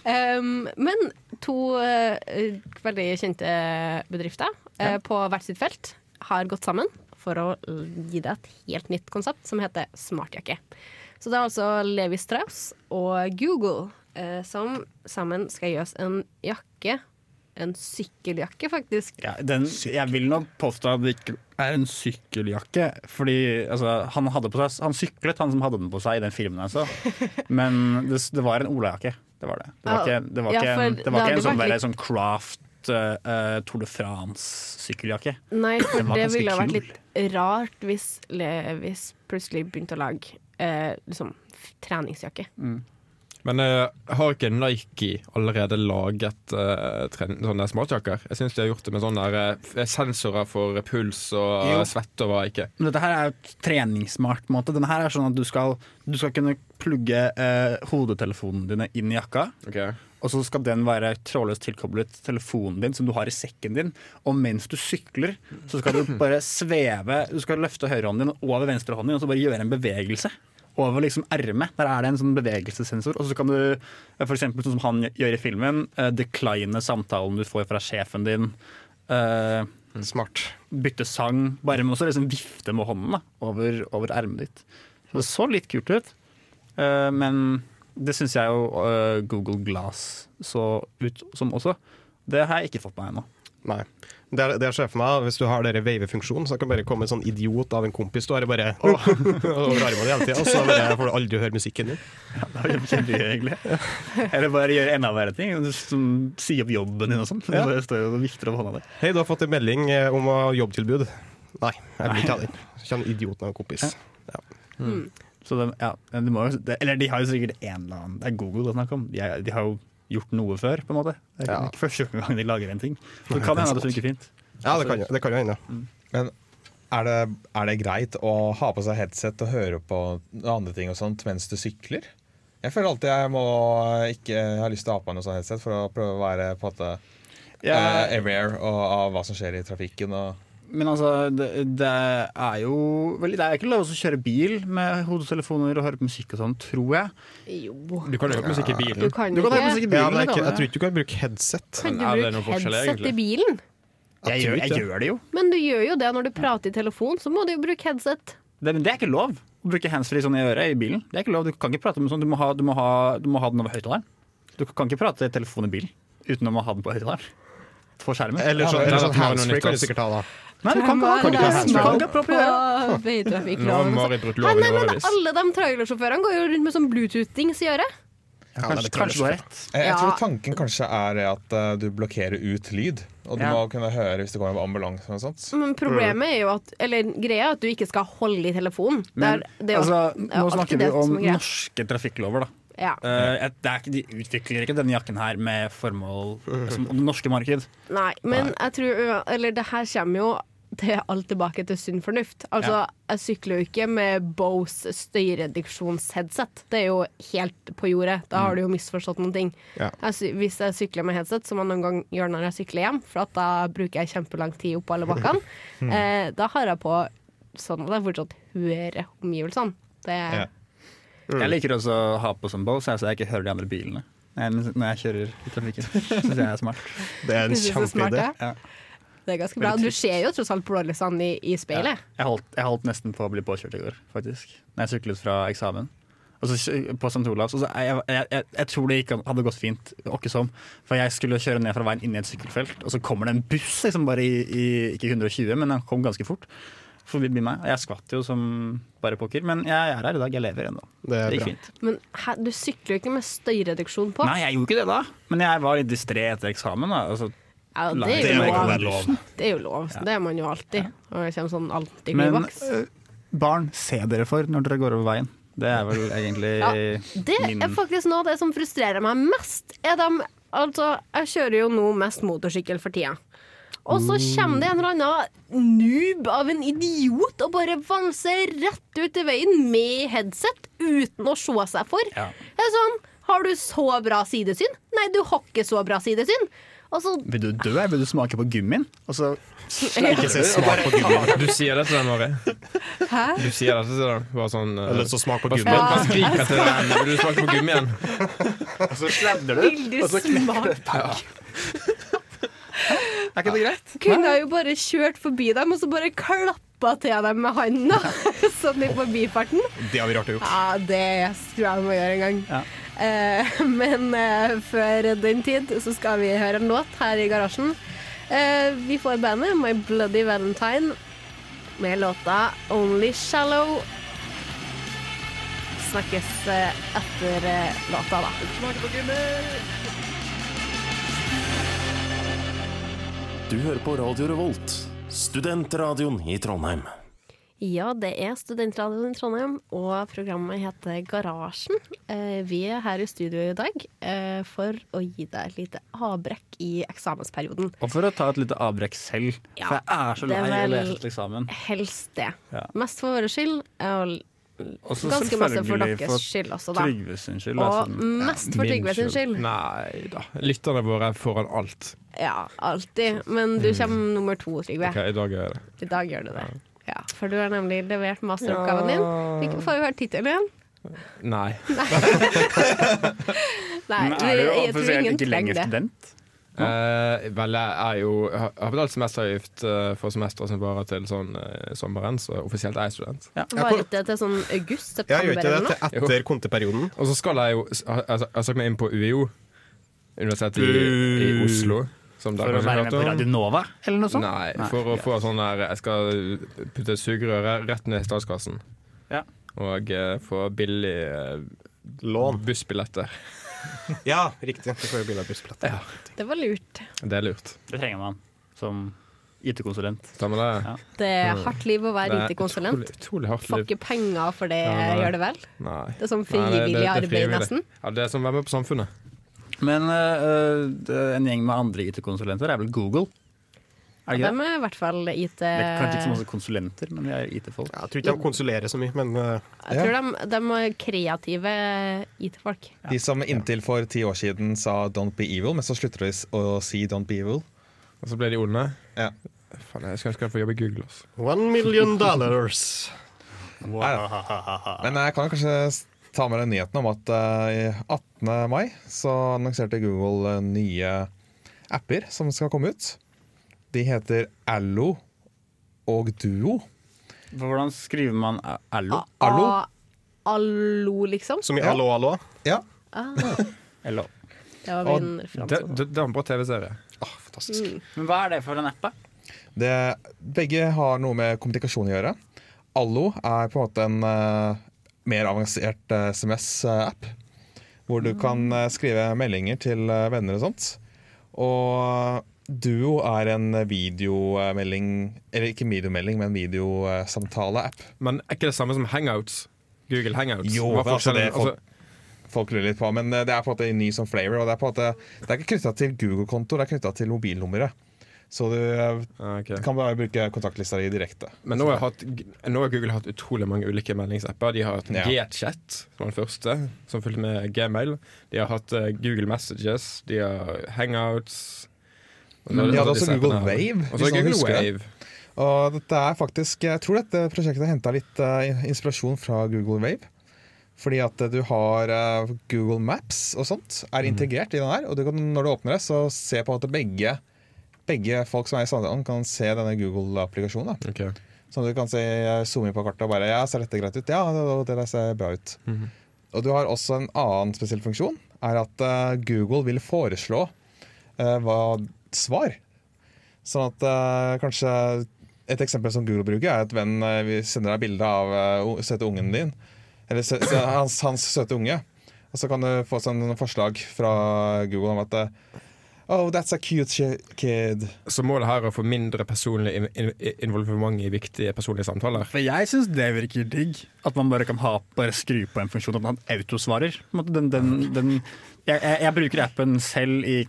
S3: Um, men to eh, veldig kjente bedrifter eh, på hvert sitt felt har gått sammen for å gi deg et helt nytt konsept som heter smartjakke. Så det er altså Levi Strauss og Google eh, som sammen skal gi oss en jakke. En sykkeljakke, faktisk.
S5: Ja, den, jeg vil nok påstå at det ikke er en sykkeljakke. Fordi altså, han, hadde på seg, han syklet, han som hadde den på seg i den filmen. Altså. Men det, det var en olajakke. Det var det. Det var
S3: Ja,
S5: ikke, det var
S3: Ah, ja,
S5: ikke, en-
S3: for det
S5: det var ikke en
S3: hadde
S5: sånn,
S3: vært
S5: der,
S3: litt-
S5: sånn craft eh, Tour de France-sykkeljakke.
S3: Nei, for
S5: Den var
S3: det
S5: ganske
S3: ville ha vært
S5: kul.
S3: litt rart hvis Levis plutselig begynte å lage eh, liksom, f- treningsjakke.
S6: Men eh, har ikke Nike allerede laget eh, tren- sånne smartjakker? Jeg syns de har gjort det med sånne der, eh, sensorer for puls og
S5: Jo.
S6: svette og hva ikke.
S5: Men dette her er jo et treningssmart på en måte. Denne her er sånn at du skal, du skal kunne plugge eh, hodetelefonene dine inn i jakka. Og så skal den være trådløst tilkoblet telefonen din som du har i sekken din. Og mens du sykler, så skal du bare sveve Du skal løfte høyrehånden din over venstrehånden din og så bare gjøre en bevegelse. Over liksom ermet. Der er det en sånn bevegelsessensor. Og så kan du, eh, for eksempel sånn som han gjør i filmen, eh, decline samtalen du får fra sjefen din. Eh,
S4: Smart.
S5: bytte sang, bare med å liksom vifte med hånden da, over, over ermet ditt. Så det så litt kult ut, Eh, men det syns jeg jo eh, Google Glass så ut som også. Det har jeg ikke fått meg ennå.
S4: Nei. Det er, det er sjefen meg, Hvis du har dere wave-funksjonen, så kan bare komme en sånn idiot av en kompis du har, og bare åh, over armene hele tida, og så bare får du aldri høre musikken din.
S5: Det er kjempegøy, egentlig. Eller bare gjøre enda verre ting. Som, si opp jobben din og sånn.
S4: Ja.
S5: Bare står og vifter over hånda di.
S4: Hei, du har fått en melding eh, om eh, jobbtilbud. Nei, jeg vil ikke ha den. Kjenner idioten av en kompis.
S5: Så det, ja, det må jo, det, eller de har jo sikkert en eller annen Det er Google det er snakk om. De, er, de har jo gjort noe før, på en måte. Det er
S4: Ja.
S5: ikke første gang de lager en ting. Så det kan hende at det funker fint.
S4: Ja, det kan jo- det kan jo hende.
S2: Men er det, er det greit å ha på seg headset og høre på andre ting og sånt mens du sykler? Jeg føler alltid jeg må ikke ha lyst til å ha på meg noe sånt Eh, headset for å prøve å være på en måte eh, aware og, av hva som skjer i trafikken. Og
S5: Men altså, det, det er jo vel, Det er ikke lov å kjøre bil med hodetelefoner og høre på musikk og sånn, tror jeg.
S3: Jo.
S6: Du kan jo høre på musikk i bilen.
S3: Du kan
S5: Du kan høre
S3: ikke
S5: på musikk i
S4: Ja,
S5: bilen.
S4: men jeg,
S5: det kan
S4: jeg
S5: du.
S4: tror ikke du kan bruke headset.
S3: Kan du
S6: Er det noen
S3: bruke
S6: forskjell,
S3: headset i
S6: egentlig?
S3: bilen?
S5: jeg, gjør, jeg
S4: Absolutt,
S5: gjør det jo.
S3: Men du gjør jo det når du prater i telefon, så må du jo bruke headset.
S5: Det, men det er ikke lov å bruke handsfree sånn i øret i bilen. Det er ikke lov, Du kan ikke prate med sånn, du må ha, du må ha, du må ha den over høyttaleren. Du kan ikke prate i telefon i bilen uten å ha den på høyttaleren. På skjermen.
S4: Eller
S6: Ja,
S4: sånn,
S6: det er at
S4: eller sånn
S6: vi har noe
S4: handsfree
S6: nytt
S4: kan du
S6: også.
S4: sikkert ha, da.
S5: Nei, du kan ikke ha
S3: Hvem
S5: du kan ikke
S3: er
S5: ha
S3: det som
S5: handsfree. Du kan ikke ha propp i
S3: på
S5: øret.
S6: Nå har
S3: veitrafikkloven?
S5: altså.
S6: Mari
S4: sånn-
S6: brutt
S3: Nei,
S6: loven i
S3: nei, men
S6: årevis.
S3: alle de trailersjåførene går jo rundt med sånn Bluetooth-dings i øret.
S5: Kanskje, kanskje du har rett.
S2: Jeg, jeg
S3: Ja.
S2: tror tanken kanskje er at eh, du blokkerer ut lyd. Og du
S5: Ja.
S2: må kunne høre hvis det kommer en ambulanse eller noe sånt.
S3: Men problemet er jo at Eller greia er at du ikke skal holde i telefonen. Det er-
S5: Men
S3: det er jo-
S5: altså,
S3: det er jo
S5: nå
S3: alltid
S5: snakker vi
S3: det som
S5: om
S3: er greia.
S5: norske trafikklover, da.
S3: Ja.
S5: Eh, et- det er ikke, de utvikler ikke denne jakken her med formål som om det norske marked.
S3: Nei, men jeg tror Eller det her kommer jo det er alt tilbake til sunn fornuft. Altså,
S5: Ja.
S3: Jeg sykler jo ikke med Bose støyreduksjonsheadset. Det er jo helt på jordet. Da har du jo misforstått noen ting.
S4: Ja.
S3: Jeg, sy- hvis jeg sykler med headset, som jeg noen gang gjør når jeg sykler hjem, for at da bruker jeg kjempelang tid oppå alle bakkene, eh, da har jeg på sånn at jeg fortsatt hører omgivelsene. Det,
S2: Ja.
S5: Jeg liker også å ha på som Bose, så jeg ikke hører de andre bilene enn når jeg kjører i trafikken. Synes jeg er smart.
S4: Det er en
S3: det synes jeg er smart,
S5: Ja.
S4: kjempeidé.
S3: det. det er ganske bra. Du ser jo tross alt blålysene i, i speilet.
S5: Jeg holdt, jeg holdt nesten på å bli påkjørt i går, faktisk. Når jeg syklet fra eksamen. Og så kjø- på St. Olavs. Og så jeg, jeg, jeg, jeg tror det ikke hadde gått fint, åkke som. For jeg skulle kjøre ned fra veien inn i et sykkelfelt, og så kommer det en buss, liksom bare i, i ikke 120, men den kom ganske fort. Forbi meg. Jeg skvatt jo som bare pokker, men jeg er her i dag. Jeg lever ennå.
S4: Det er
S5: Det gikk
S4: bra.
S5: fint.
S3: Men hæ, du sykler jo ikke med støyreduksjon på.
S5: Nei, jeg gjorde ikke det da, men jeg var litt distré etter eksamen. da altså,
S3: Ja, det,
S5: Nei,
S3: er
S5: det må
S3: jo
S5: ikke
S3: lov.
S5: være lov.
S3: Det er jo lov. så Det er man jo alltid. Og det kommer sånn
S5: Men
S3: antiklimaks.
S5: eh, barn, se dere for når dere går over veien. Det er vel egentlig
S3: Ja, Det
S5: min
S3: er faktisk noe av det som frustrerer meg mest. Er dem- altså, jeg kjører jo nå mest motorsykkel for tida. Og så kommer det en eller annen noob av en idiot og bare vanser rett ut i veien med headset uten å se seg for.
S5: Ja.
S3: Det er sånn, Har du så bra sidesyn? Nei, du har ikke så bra sidesyn. Og så
S5: Vil du dø? Vil du smake på gummien? Og så
S3: Ja.
S5: sleiker du, og bare
S6: Du sier det til den, Mari. Du sier det til den. Bare sånn eh,
S4: Eller så smak på
S6: bare,
S4: gummien.
S6: bare, bare skriker til den. Vil du smake på gummien?
S5: sladder du.
S3: vil du smake
S5: Er ikke det greit?
S3: Kunne jeg jo bare kjørt forbi dem og så bare klappa til dem med handa. sånn i forbifarten.
S4: Det har vi rart å gjøre.
S3: Ja, det tror jeg jeg må gjøre en gang.
S5: Ja.
S3: Eh, men eh, før den tid så skal vi høre en låt her i garasjen. Eh, vi får bandet My Bloody Valentine med låta Only Shallow. Snakkes eh, etter eh, låta, da.
S7: Du hører på Radio Revolt, studentradioen i Trondheim.
S3: Ja, det er Studentradioen i Trondheim, og programmet heter Garasjen. Eh, Vi er her i studio i dag eh, for å gi deg et lite avbrekk i eksamensperioden.
S5: Og for å ta et lite avbrekk selv,
S3: Ja,
S5: for jeg er så
S3: det er
S5: lei av å
S3: vel-
S5: lese til eksamen.
S3: Helst det.
S5: Ja.
S3: Mest for våre skyld, og
S5: Og så
S3: ganske masse for
S5: selvfølgelig
S3: deres skyld også, da.
S5: Trygve sin skyld. altså,
S3: Og
S5: den-
S3: mest
S5: ja,
S3: for
S5: min
S3: Trygve sin skyld.
S6: Nei da. Lytterne våre er foran alt.
S3: Ja, alltid. Men du kommer nummer to, Trygve.
S6: Ok, I dag er det
S3: I dag gjør du det. Ja, For du har nemlig levert masteroppgaven din. Fikk- Får vi høre tittelen igjen?
S6: Nei.
S3: Nei,
S5: Men er du
S3: jeg- jeg tror
S5: offisielt
S3: ingen
S5: ikke
S3: trenger
S5: lenger
S3: det.
S5: student?
S6: Eh, vel, jeg er jo jeg har har betalt semesteravgift eh, for semesteret som varer til sånn eh, sommeren, så offisielt er jeg student.
S3: Var ikke det til sånn august-september
S4: Jeg gjør ikke
S3: eller
S4: det
S3: noe?
S4: til etter konteperioden.
S6: Og så skal jeg jo s- ha- Jeg har sagt meg inn på UiO, Universitetet i, i Oslo. Som dere
S5: For å
S6: kanskje
S5: være
S6: hørte
S5: med på
S6: om.
S5: Radio Nova, eller noe sånt?
S6: Nei, for å få sånn der Jeg skal putte sugerøret rett ned i statskassen.
S5: Ja.
S6: Og eh, få billig eh,
S4: Lån.
S6: bussbilletter.
S4: Ja, riktig. Du får jo bilde av bussbillett.
S3: Det var lurt.
S6: Det er lurt.
S5: Det trenger man som IT-konsulent.
S6: Stemmer det?
S5: Ja.
S3: Det er hardt liv å
S6: Det
S3: være
S6: er
S3: IT-konsulent.
S6: Utrolig, utrolig hardt
S3: Får
S6: liv.
S3: ikke penger for det,
S6: Ja, nei, nei.
S3: gjør det vel?
S6: Nei.
S3: Det er sånn
S6: Nei, det- det-
S3: frivillig
S6: det er
S3: arbeid,
S6: frivillig.
S3: nesten.
S6: Ja, det er som å være med på Samfunnet.
S5: Men øh, øh, en gjeng med andre IT-konsulenter er vel Google? Er det
S3: De
S5: ikke det?
S3: er i hvert fall IT
S5: Det er kanskje ikke så
S3: Jeg
S5: masse konsulenter, men de er IT-folk.
S4: Jeg tror ikke de konsulerer så mye, men eh,
S3: tror de, de er kreative IT-folk.
S2: De som inntil for ti år siden sa 'don't be evil', men så slutter de s- å si 'don't be evil'.
S6: Og så ble de onde.
S2: Ja.
S6: Faen, jeg skulle ønske jeg fikk jobbe i Google. Også.
S4: One million dollars.
S2: Men jeg kan kanskje s- ta med den nyheten om at eh, i 18. mai så annonserte Google eh, nye apper som skal komme ut. De heter Allo og Duo.
S5: For hvordan skriver man a- allo?
S2: Allo?
S3: Ah, Allo, liksom?
S4: Som i Allo, allo.
S2: Ja.
S3: Ah,
S5: Allo.
S3: det var min
S5: Ah,
S6: Det,
S3: referanse.
S6: det, det var en bra TV-serie.
S4: Fantastisk.
S5: Men hva er det for en app, da?
S2: Det, begge har noe med kommunikasjon å gjøre. Allo er på en måte en eh, mer avansert eh, SMS-app. Hvor du kan eh, skrive meldinger til eh, venner og sånt. Og Duo er en videomelding Eller ikke videomelding, men videosamtale-app.
S6: Men er ikke det samme som Hangouts? Google Hangouts?
S2: Jo,
S6: Hva
S2: det er altså
S6: forskjellen-
S2: det folk- Folk lurer litt på, Men eh, det er på en måte en ny som flavor. Og det er på en måte, det er ikke knytta til Google-konto, det er knytta til mobilnummeret. Så du eh,
S6: Ah, ok.
S2: kan bare bruke kontaktlista di direkte.
S6: Men nå har, jeg hatt, nå har Google hatt utrolig mange ulike meldingsapper. De har hatt
S2: Ja.
S6: Gchat, som var den første, som fulgte med Gmail. De har hatt eh, Google Messages, de har Hangouts Og så
S2: Men
S6: har
S2: de hadde
S6: disse
S2: også Google
S6: appene her.
S2: Wave,
S6: Og så
S2: hvis
S6: er
S2: noen
S6: Google
S2: husker det.
S6: Wave.
S2: Og dette er faktisk, Jeg tror dette prosjektet henta litt eh, inspirasjon fra Google Wave. Fordi at eh, du har eh, Google Maps og sånt er integrert i den her. Og du kan, når du åpner det, så se på at begge, begge folk som er i samtalen, kan se denne Google-applikasjonen. da.
S6: Ok.
S2: Sånn at du kan se, eh, zoome inn på kartet og bare Ja, ser dette greit ut? Ja, det, det der ser bra ut. Og du har også en annen spesiell funksjon. Er at eh, Google vil foreslå eh, hva svar. Sånn at eh, kanskje et eksempel som Google bruker, er at vennen eh, vi sender deg bilde av eh, o- søte ungen din. Eller sø sø- hans, hans søte unge. Og så kan du få sånn forslag fra Google om at eh, Oh, that's a cute ki- kid.
S6: Så målet her er å få mindre personlig in in involvement i viktige personlige samtaler.
S5: For jeg syns det virker digg. At man bare kan ha, bare skru på en funksjon at man autosvarer. På en måte, Den, den, den, jeg, jeg, jeg bruker appen selv i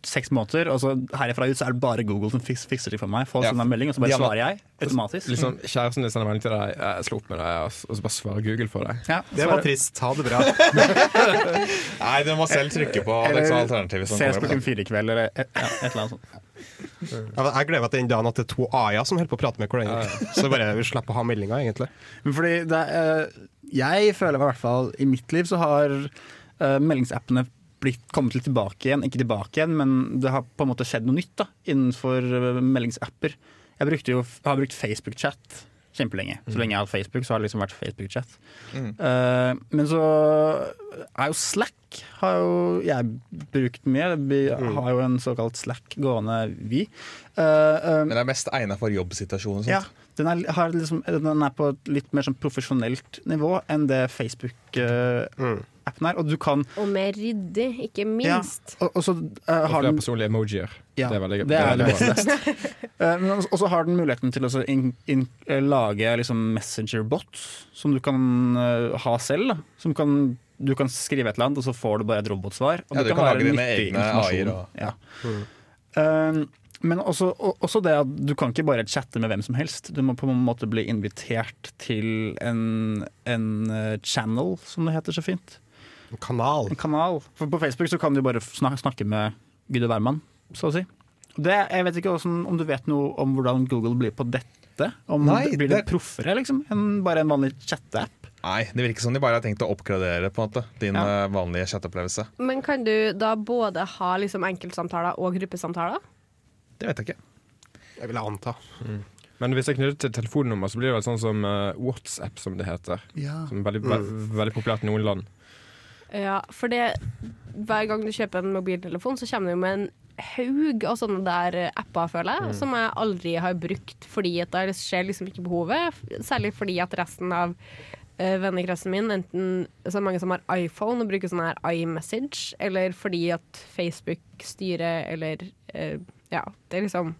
S5: seks måneder, og så herifra ut så er det bare Google som fiks, fikser det for meg. Folk
S2: Ja.
S5: sender en melding, og så
S2: De
S5: bare
S2: har-
S5: svarer jeg automatisk.
S6: Liksom, kjæresten din sender melding til deg, eh, jeg slo opp med deg, og s- og så bare svarer Google for deg.
S5: Ja,
S4: Det var
S5: svarer.
S4: trist. Ha det bra.
S2: Nei, du må selv trykke på det er ikke så alternativet som
S5: Ses
S2: kommer
S5: klokken
S2: opp.
S5: fire i kveld, eller et, ja, et eller annet sånt.
S4: Ja, men Jeg gleder meg til den dagen at det er to AI-er som holder på å prate med hverandre. Så bare vi slipper å ha meldinger, egentlig.
S5: Men fordi det, er, eh, jeg føler i hvert fall i mitt liv så har eh, meldingsappene blitt, kommet litt tilbake igjen. Ikke tilbake igjen, men det har på en måte skjedd noe nytt da, innenfor eh, meldingsapper. Jeg brukte jo, har brukt Facebook-chat kjempelenge. Så lenge jeg har hatt Facebook, så har det liksom vært Facebook-chat. Eh, men så er jo Slack har jo jeg brukt mye. Vi har jo en såkalt Slack gående, vi. Eh, eh,
S2: Men det er mest egna for jobbsituasjoner. og sånt.
S5: ja, den er, har liksom, den er på et litt mer sånn profesjonelt nivå enn det
S2: Mm.
S5: Facebook-appen er. Og du kan
S3: Og mer ryddig, ikke
S5: ja,
S3: minst.
S5: og, og så eh,
S6: Og
S5: har
S6: flere
S5: den
S6: personlige emojier.
S5: Ja,
S6: det er veldig
S5: det er det
S6: bra.
S5: Eh, men også- også har den muligheten til å så inn- inn- eh, lage liksom messengerbots som du kan eh, ha selv. Da. Som kan, du kan skrive et eller annet, og så får du bare et robotsvar. Og
S2: Ja,
S5: det
S2: du
S5: kan
S2: kan
S5: være
S2: lage dine
S5: nyttig
S2: egne
S5: informasjon.
S2: AI-er og-
S5: Ja.
S2: Mm.
S5: Eh, men også, og- også det at du kan ikke bare chatte med hvem som helst. Du må på en måte bli invitert til en, en eh, channel, som det heter så fint
S4: En kanal.
S5: en kanal. For på Facebook så kan du bare snak snakke med Gud og hvermann, så å si. Det, jeg vet ikke hvordan, om du vet noe om hvordan Google blir på dette? Om
S2: Nei,
S5: det, blir det,
S2: det-
S5: proffere liksom, enn bare en vanlig chatteapp?
S2: Nei, det virker som de bare har tenkt å oppgradere på en måte, din
S5: Ja.
S2: eh, vanlige chatteopplevelse.
S3: Men kan du da både ha liksom enkeltsamtaler og gruppesamtaler?
S2: Det vet jeg ikke.
S4: Jeg vil anta.
S6: Men hvis jeg knytter til telefonnummer, så blir det vel sånn som eh, WhatsApp, som det heter. Som er veldig, ve veldig populært i noen land.
S3: Ja, for det, hver gang du kjøper en mobiltelefon, så kommer det jo med en haug av sånne der eh, apper, føler
S4: Mm.
S3: jeg, som jeg aldri har brukt fordi at jeg ser liksom ikke behovet. f- Særlig fordi at resten av eh, vennekretsen min, enten så er det mange som har iPhone og bruker sånn her iMessage, eller fordi at Facebook styrer, eller eh, ja, det er liksom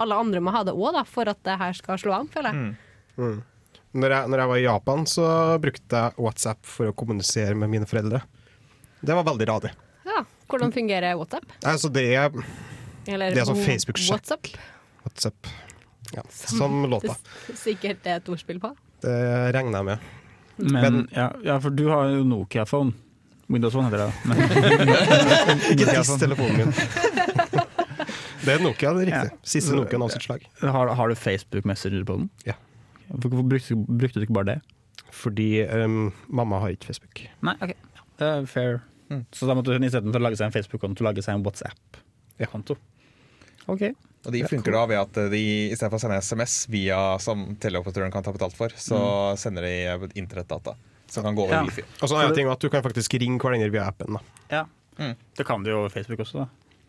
S3: alle andre må ha det òg, for at det her skal slå an, føler jeg.
S4: Mm. Når jeg, når jeg var i Japan, så brukte jeg WhatsApp for å kommunisere med mine foreldre. Det var veldig radig.
S3: Ja, Hvordan fungerer WhatsApp?
S4: Altså, det er
S3: Eller
S4: Det er sånn
S3: Wh-
S4: Facebook-sjekk.
S3: WhatsApp.
S4: WhatsApp. Ja, som låta.
S3: Sikkert det er et ordspill på.
S4: Det regner jeg med.
S5: Men,
S4: Men-
S5: ja, ja, for du har jo Nokia-phone. Windows Phone heter det. Men,
S4: Ikke tiss telefonen min. Det er Nokia, det er riktig. Siste Nokiaen av sitt slag.
S5: Har, har du Facebook Messenger på den?
S4: Ja.
S5: Hvorfor brukte, brukte du ikke bare det?
S4: Fordi ehm, mamma har ikke Facebook.
S5: Nei, ok. Det er fair. Mm. Så da måtte hun istedenfor å lage seg en Facebook-konto, lage seg en WhatsApp-konto. Ok.
S2: Og de funker da ved at eh, de istedenfor å sende SMS via som teleoperatøren kan ta betalt for, så sender de internettdata som kan gå over
S5: Mm. Ja.
S2: wifi.
S4: Og så en annen ting var at du kan faktisk ringe hverandre via appen. da.
S5: Ja. Mm. Det kan du jo over Facebook også, da.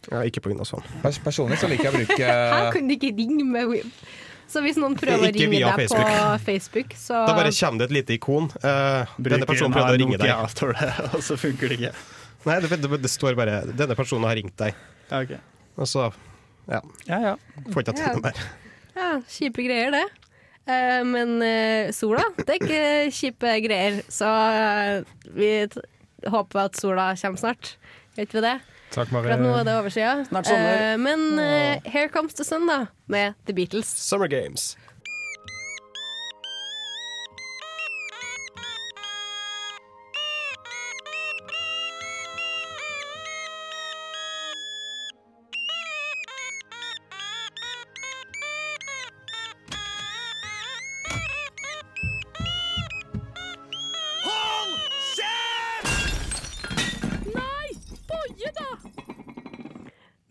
S4: Ja, ikke på sånn. Windows Phone.
S2: Pers personlig så liker jeg å bruke
S3: Her kan du ikke ringe med Wim. Så hvis noen prøver å
S4: Eh, Ikke
S3: ringe
S4: via
S3: deg på Facebook, så
S4: Da bare kommer det et lite ikon. eh, denne personen prøvde å ringe deg.
S5: Ja, står det, og så funker det ikke.
S4: Nei, det, det, det står bare 'denne personen har ringt deg'.
S5: Ja, ok.
S4: Og så ja,
S5: ja, ja.
S4: får ikke jeg til noe mer.
S3: Ja, kjipe greier, det. Eh, men eh, sola, det er ikke kjipe greier. Så eh, vi t håper at sola kommer snart. Gjør ikke vi det?
S6: Takk,
S3: For at nå er
S6: Mari.
S3: det over sida.
S5: Snart sommer.
S3: Eh, men eh, Here Comes the Sun, da, med The Beatles.
S4: Summer Games.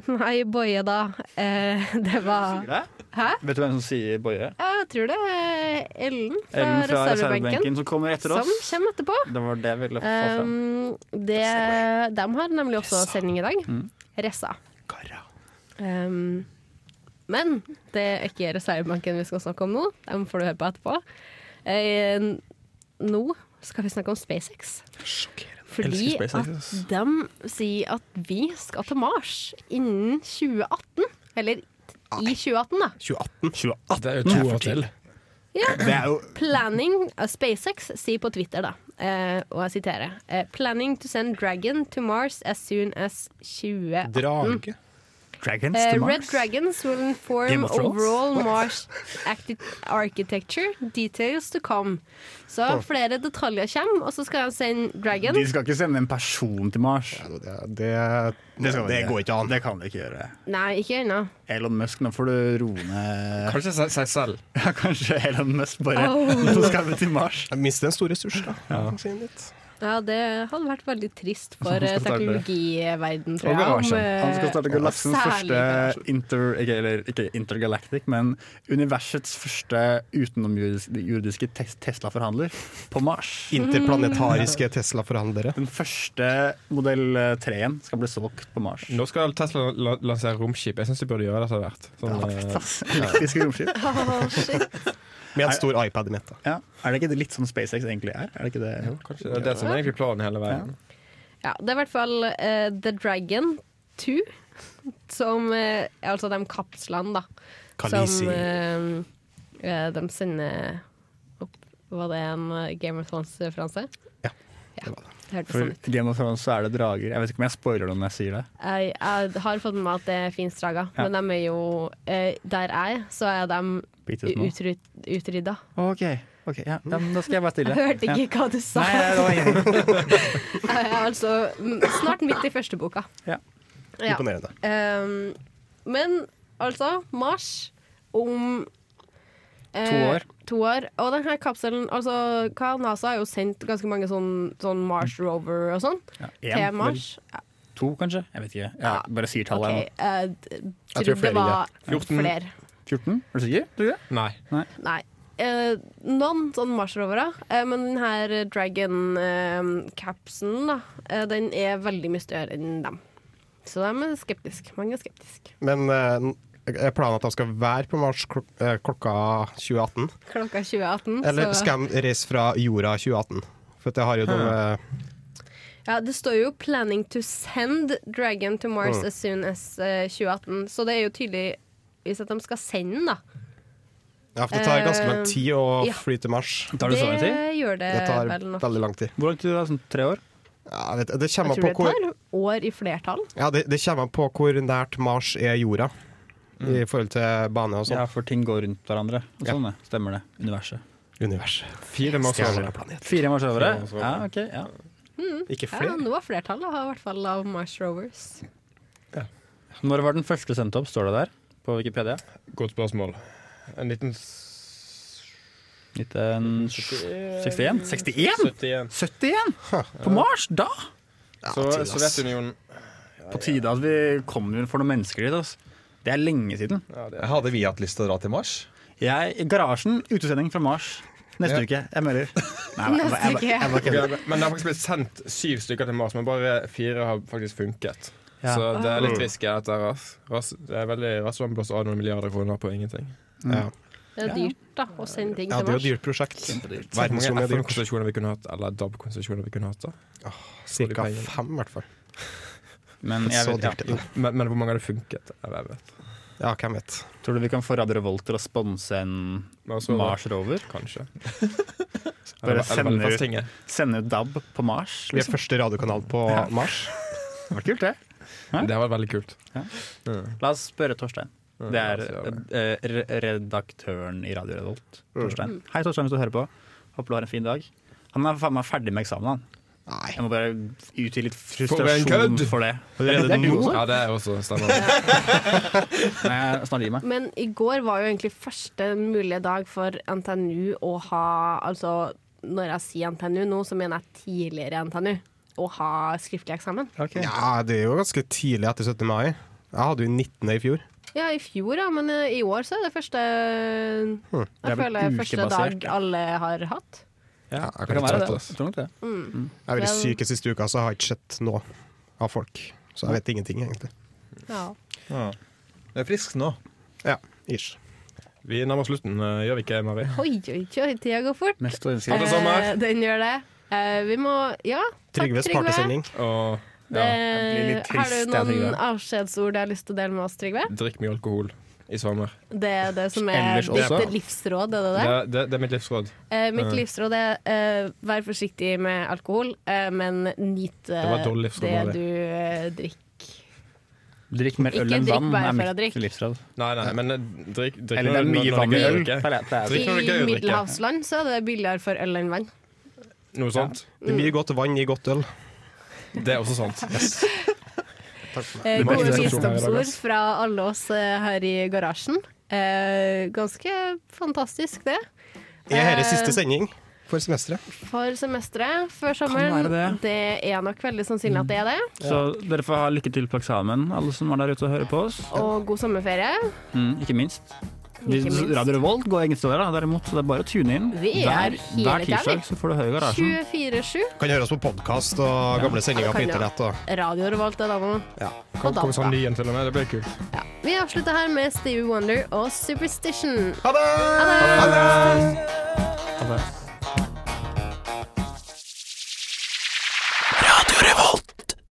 S3: Nei, boje, da. Eh, det var Hæ?
S5: Vet du hvem som sier Boje?
S3: Jeg tror det er Ellen fra,
S5: Ellen fra
S3: reservebenken
S5: reservebenken som kommer etter
S3: som
S5: oss.
S3: kommer etterpå.
S5: Det var det jeg ville få fram.
S3: Um, det, de har nemlig også sending i dag.
S5: Mm.
S3: Ressa. Um, men det er ikke reservebanken vi skal snakke om nå. Dem får du høre på etterpå. Eh, nå skal vi snakke om SpaceX. Fordi
S5: Elsker SpaceX.
S3: at de sier at vi skal til Mars innen 2018. Eller i 2018, da.
S4: 2018.
S6: Det er jo to år til.
S5: Det er jo
S3: Planning uh, SpaceX sier på Twitter, da, eh, og jeg siterer eh, Planning to send Dragon to Mars as soon as 2018.
S4: Drage.
S5: Dragons
S3: Eh,
S5: to
S3: Red
S5: Mars.
S3: Dragons will inform
S5: Game of Thrones?
S3: overall Mars acti- architecture details to come. Så flere detaljer kommer, og så skal han sende Dragon.
S5: De skal ikke sende en person til Mars.
S4: Det, det, det,
S5: skal vi gjøre.
S4: går ikke an.
S5: Det kan de ikke gjøre.
S3: Nei, ikke ennå.
S5: Elon Musk, nå får du roe ned
S6: Kanskje se- seg selv.
S5: Ja, Kanskje Elon Musk bare
S3: Au.
S5: Nå skal vi til Mars.
S4: Jeg mister en stor ressurs, da. kan si litt.
S3: Ja, det hadde vært veldig trist for eh,
S6: skal starte-
S3: teknologiverden, tror
S6: Og
S3: jeg. om,
S6: garasjen.
S3: eh,
S5: Han skal starte galaksens
S3: særlig
S5: første inter, ikke, eller, ikke intergalactic, men universets første utenomjordiske tes- Tesla-forhandler på Mars.
S4: Interplanetariske Tesla-forhandlere.
S5: Den første modell 3-en skal bli solgt på Mars.
S6: Nå skal Tesla la lansere romskip. Jeg syns de burde gjøre det etter hvert. Sånn,
S5: Ja,
S6: eh,
S5: fett, ass. Elektriske romskip.
S3: Å, shit.
S4: Med en stor iPad i midten.
S5: Ja. Er det ikke det litt sånn SpaceX egentlig er? Er det ikke det?
S6: kanskje det er det som er egentlig planen hele veien.
S3: Ja, det er i hvert fall eh, The Dragon 2, som eh, er Altså de kapslene, da.
S4: Khaleesi.
S3: Som eh, eh, de sender opp Var det en eh, Game of Thrones-referanse?
S4: Ja,
S3: ja. Det hørtes
S5: For
S3: sånn ut.
S5: i Game of Thrones så er det drager. Jeg vet ikke om jeg spoiler noe når jeg sier det.
S3: Jeg, jeg har fått med meg at det er Finstraga,
S5: Ja.
S3: men de er jo eh, Der jeg er, så er de
S5: Bitte små.
S3: utryd, utrydda.
S5: Ok, ok, ja. ja, men da skal jeg være stille.
S3: Jeg hørte
S5: Ja.
S3: ikke hva du sa.
S5: Nei, nei, det var ingenting.
S3: Jeg er altså mm, snart midt i første boka.
S5: Ja.
S3: Ja.
S4: Imponerende.
S3: Ehm, men altså, Mars om eh,
S5: To år.
S3: To år. Og denne kapselen altså, hva, NASA har jo sendt ganske mange sånn, sånn Mars Rover og sånn
S5: Mm. Ja, en,
S3: til Mars.
S5: vel, To, kanskje? Jeg vet ikke.
S3: Ja.
S5: Jeg bare sier
S3: OK.
S5: tallet. jeg nå.
S3: eh, d-
S4: tror
S3: trodde det
S4: flere
S3: var
S6: enn det. 14.
S3: flere.
S5: 14? Er du sikker? Tror du det?
S6: Nei.
S3: Nei. Eh, noen sånne Mars-rovere. Eh, men den her Dragon-capsen, da, eh, den er veldig mye større enn dem. Så de er skeptiske. Mange er skeptiske.
S4: Men eh, er planen at de skal være på Mars klok eh, klokka 2018?
S3: Klokka 2018,
S4: Eller
S3: så
S4: skal de reise fra jorda 2018? For det har jo noe
S3: Ja, det står jo 'planning to send Dragon to Mars
S5: Mm.
S3: as soon as eh, 2018', så det er jo tydeligvis at de skal sende den, da.
S4: Ja, for det tar ganske lang
S3: Eh,
S4: tid å
S3: ja.
S4: fly til Mars.
S5: Tar det så lang tid?
S3: gjør det,
S4: Det tar
S3: Eh, vel nok.
S4: veldig lang tid.
S5: Hvor lang tid er det? Sånn tre år?
S4: Ja, jeg vet, det
S3: Jeg
S4: kommer an
S3: tror
S4: på
S3: det
S4: hvor,
S3: tar år i flertall.
S4: ja, det, det kommer an på hvor nært Mars er jorda. I forhold til bane og sånn.
S5: Ja, for ting går rundt hverandre. Og sånn, det. Stemmer det. Universet.
S4: Universet.
S6: Fire marsjere.
S5: Fire mars over
S6: Fire mars over.
S5: Ja, ok. Ja.
S4: Ikke
S3: Ja,
S4: flere?
S3: noe av flertallet har i hvert fall av Mars Rovers.
S5: Når var den første sendt opp, står det der på Wikipedia?
S6: Godt spørsmål. 19...
S5: 1961? 61?
S6: 71.
S5: 71? På Mars? Da?
S6: Så Sovjetunionen
S5: På tide at vi kommer for noen mennesker dit. ass. Det er lenge siden.
S2: Hadde vi hatt lyst til å dra til Mars?
S5: Jeg, garasjen, utesending fra Mars. Neste
S2: Ja.
S5: uke. Jeg melder. Nei, jeg bare- jeg bare- jeg bare
S6: Ok,
S5: kødder.
S6: Men det har faktisk blitt sendt syv stykker til Mars, men bare fire har faktisk funket.
S5: Ja.
S6: Så det er litt
S5: Mm.
S6: risky, dette her. ass. Ras, det er veldig raskt man blåser av noen milliarder kroner på ingenting.
S3: Mm. Det er dyrt, da, å sende ting
S4: Ja,
S3: til
S4: det er jo et
S3: Mars.
S4: dyrt prosjekt.
S6: Hvor mange
S4: Verdensrommet er dyrt.
S6: FN-konsesjoner vi kunne hatt, eller DAB-konsesjoner vi kunne hatt. da
S4: Cirka
S6: pengene.
S4: fem, i hvert fall.
S5: Men jeg
S4: Så
S5: vet, ja.
S4: dyrt er det.
S6: Men, men hvor mange hadde funket? Jeg vet- jeg vet.
S4: Ja, hvem vet.
S5: Tror du vi kan få Radio Revolt til å sponse en
S6: Mars-rover.
S5: Mars-rover?
S6: Kanskje.
S5: Bare
S6: Eller- eller
S5: sender-
S6: Velferdstinget.
S5: Sende ut DAB på Mars?
S4: Vi er
S5: Liksom.
S4: første radiokanal på Mars.
S5: Det var kult, det.
S6: Det hadde vært veldig kult.
S5: La oss spørre Torstein. Det
S6: Ja,
S5: er
S6: la oss gjøre Mm.
S5: eh, re- redaktøren i Radio Revolt. Torstein. Hei, Torstein, hvis du hører på. Håper du har en fin dag. Han er faen meg ferdig med eksamen, han.
S4: Nei.
S5: Jeg må bare utgi litt
S6: Får vi en
S5: frustrasjon
S6: kødd?
S5: for det.
S4: Allerede nå?
S6: Ja, det er også stemmer. det.
S5: Men jeg snart gir meg.
S3: Men i går var jo egentlig første mulige dag for NTNU å ha Altså, når jeg sier NTNU nå, så mener jeg tidligere NTNU. Å ha skriftlig eksamen.
S4: Ja, det er jo ganske tidlig etter 17. mai. Jeg hadde jo 19. i fjor.
S3: Ja, i fjor, ja, men eh, i år så er det første
S5: Hm, Det er
S3: Jeg
S5: vel
S3: føler første
S5: ukebasert,
S3: dag
S5: ja.
S3: alle har hatt.
S4: Ja, jeg
S5: Det
S4: kan
S5: kan
S4: ikke
S5: være
S4: ta
S5: det.
S4: det.
S5: Jeg tror nok det.
S4: Jeg har vært
S3: Det er-
S4: syk i siste uka, så jeg har ikke sett noe av folk. Så jeg vet ingenting, egentlig.
S3: Ja.
S2: Det er friskt nå.
S4: Ja, ish.
S6: Vi nærmer oss slutten, eh, gjør vi ikke, Mari?
S3: Oi, oi, oi, tida går fort.
S5: Mest å ønske.
S6: Ha det sommer.
S3: Eh, den gjør det. Eh, vi må Ja, takk, Mm.
S4: Trygves partysending.
S6: Og
S3: Det,
S5: jeg blir litt
S3: har
S5: trist,
S3: du
S5: jeg,
S3: noen
S5: Trygve.
S3: avskjedsord du har lyst til å dele med oss, Trygve?
S6: drikk mye alkohol i sommer.
S3: Det er det som er
S5: Ellers også.
S3: ditt livsråd, er det det?
S6: Det, det, det er mitt livsråd.
S3: Eh, mitt
S6: Ja.
S3: livsråd er eh, vær forsiktig med alkohol, eh, men nyt eh,
S6: Det var et dårlig livsråd,
S3: det
S6: Mari.
S3: du eh, drikker.
S5: Drikk mer
S3: Ikke
S5: øl enn
S3: drikk
S5: vann
S3: bare
S5: er
S3: for å
S5: mitt
S3: drikke.
S5: livsråd.
S6: Nei, nei, men eh, drikk, drikk
S5: Eller det er
S6: når-
S5: mye
S6: når
S5: vann i
S6: det er gøy å
S5: øl.
S6: drikke.
S5: pleier jeg- pleier jeg å si.
S6: Drikk når det er
S3: I
S6: gøy å drikke.
S3: middelhavsland så er det billigere for øl enn vann.
S6: Noe sånt.
S4: Det er mye godt vann i godt øl.
S6: Det er også sånn. sant.
S3: Eh,
S6: Det var
S3: gode
S6: ikke det som var i dag,
S3: visdomsord
S6: ass.
S3: fra alle oss eh, her i garasjen. Eh, ganske fantastisk, det.
S4: Er
S3: Eh,
S4: dette siste sending for semesteret?
S3: For semesteret før sommeren.
S5: Kan være det. Mm.
S3: er nok veldig sannsynlig at det er det.
S5: Så dere får ha lykke til på eksamen, alle som er der ute og hører på oss.
S3: Og god sommerferie.
S5: Mm, ikke minst. Vi-
S3: Ikke minst.
S5: Radio Revolt går ingen steder, da, derimot, så det er bare å tune inn.
S3: Vi er
S5: hver,
S3: hele
S5: hver
S3: tiden, vi.
S5: tirsdag så får du høre Garasjen.
S3: 24-7.
S4: Kan høre oss på podkast og gamle sendinger på
S3: Kan, ja.
S4: internett. Og.
S3: Radio Revolt er navnet.
S6: Kom, kom sånn ny en til og med. Det blir kult.
S3: Ja. Vi avslutter her med Stevie Wonder og Superstition.
S4: Ha det!
S3: Ha det!
S5: Ha det.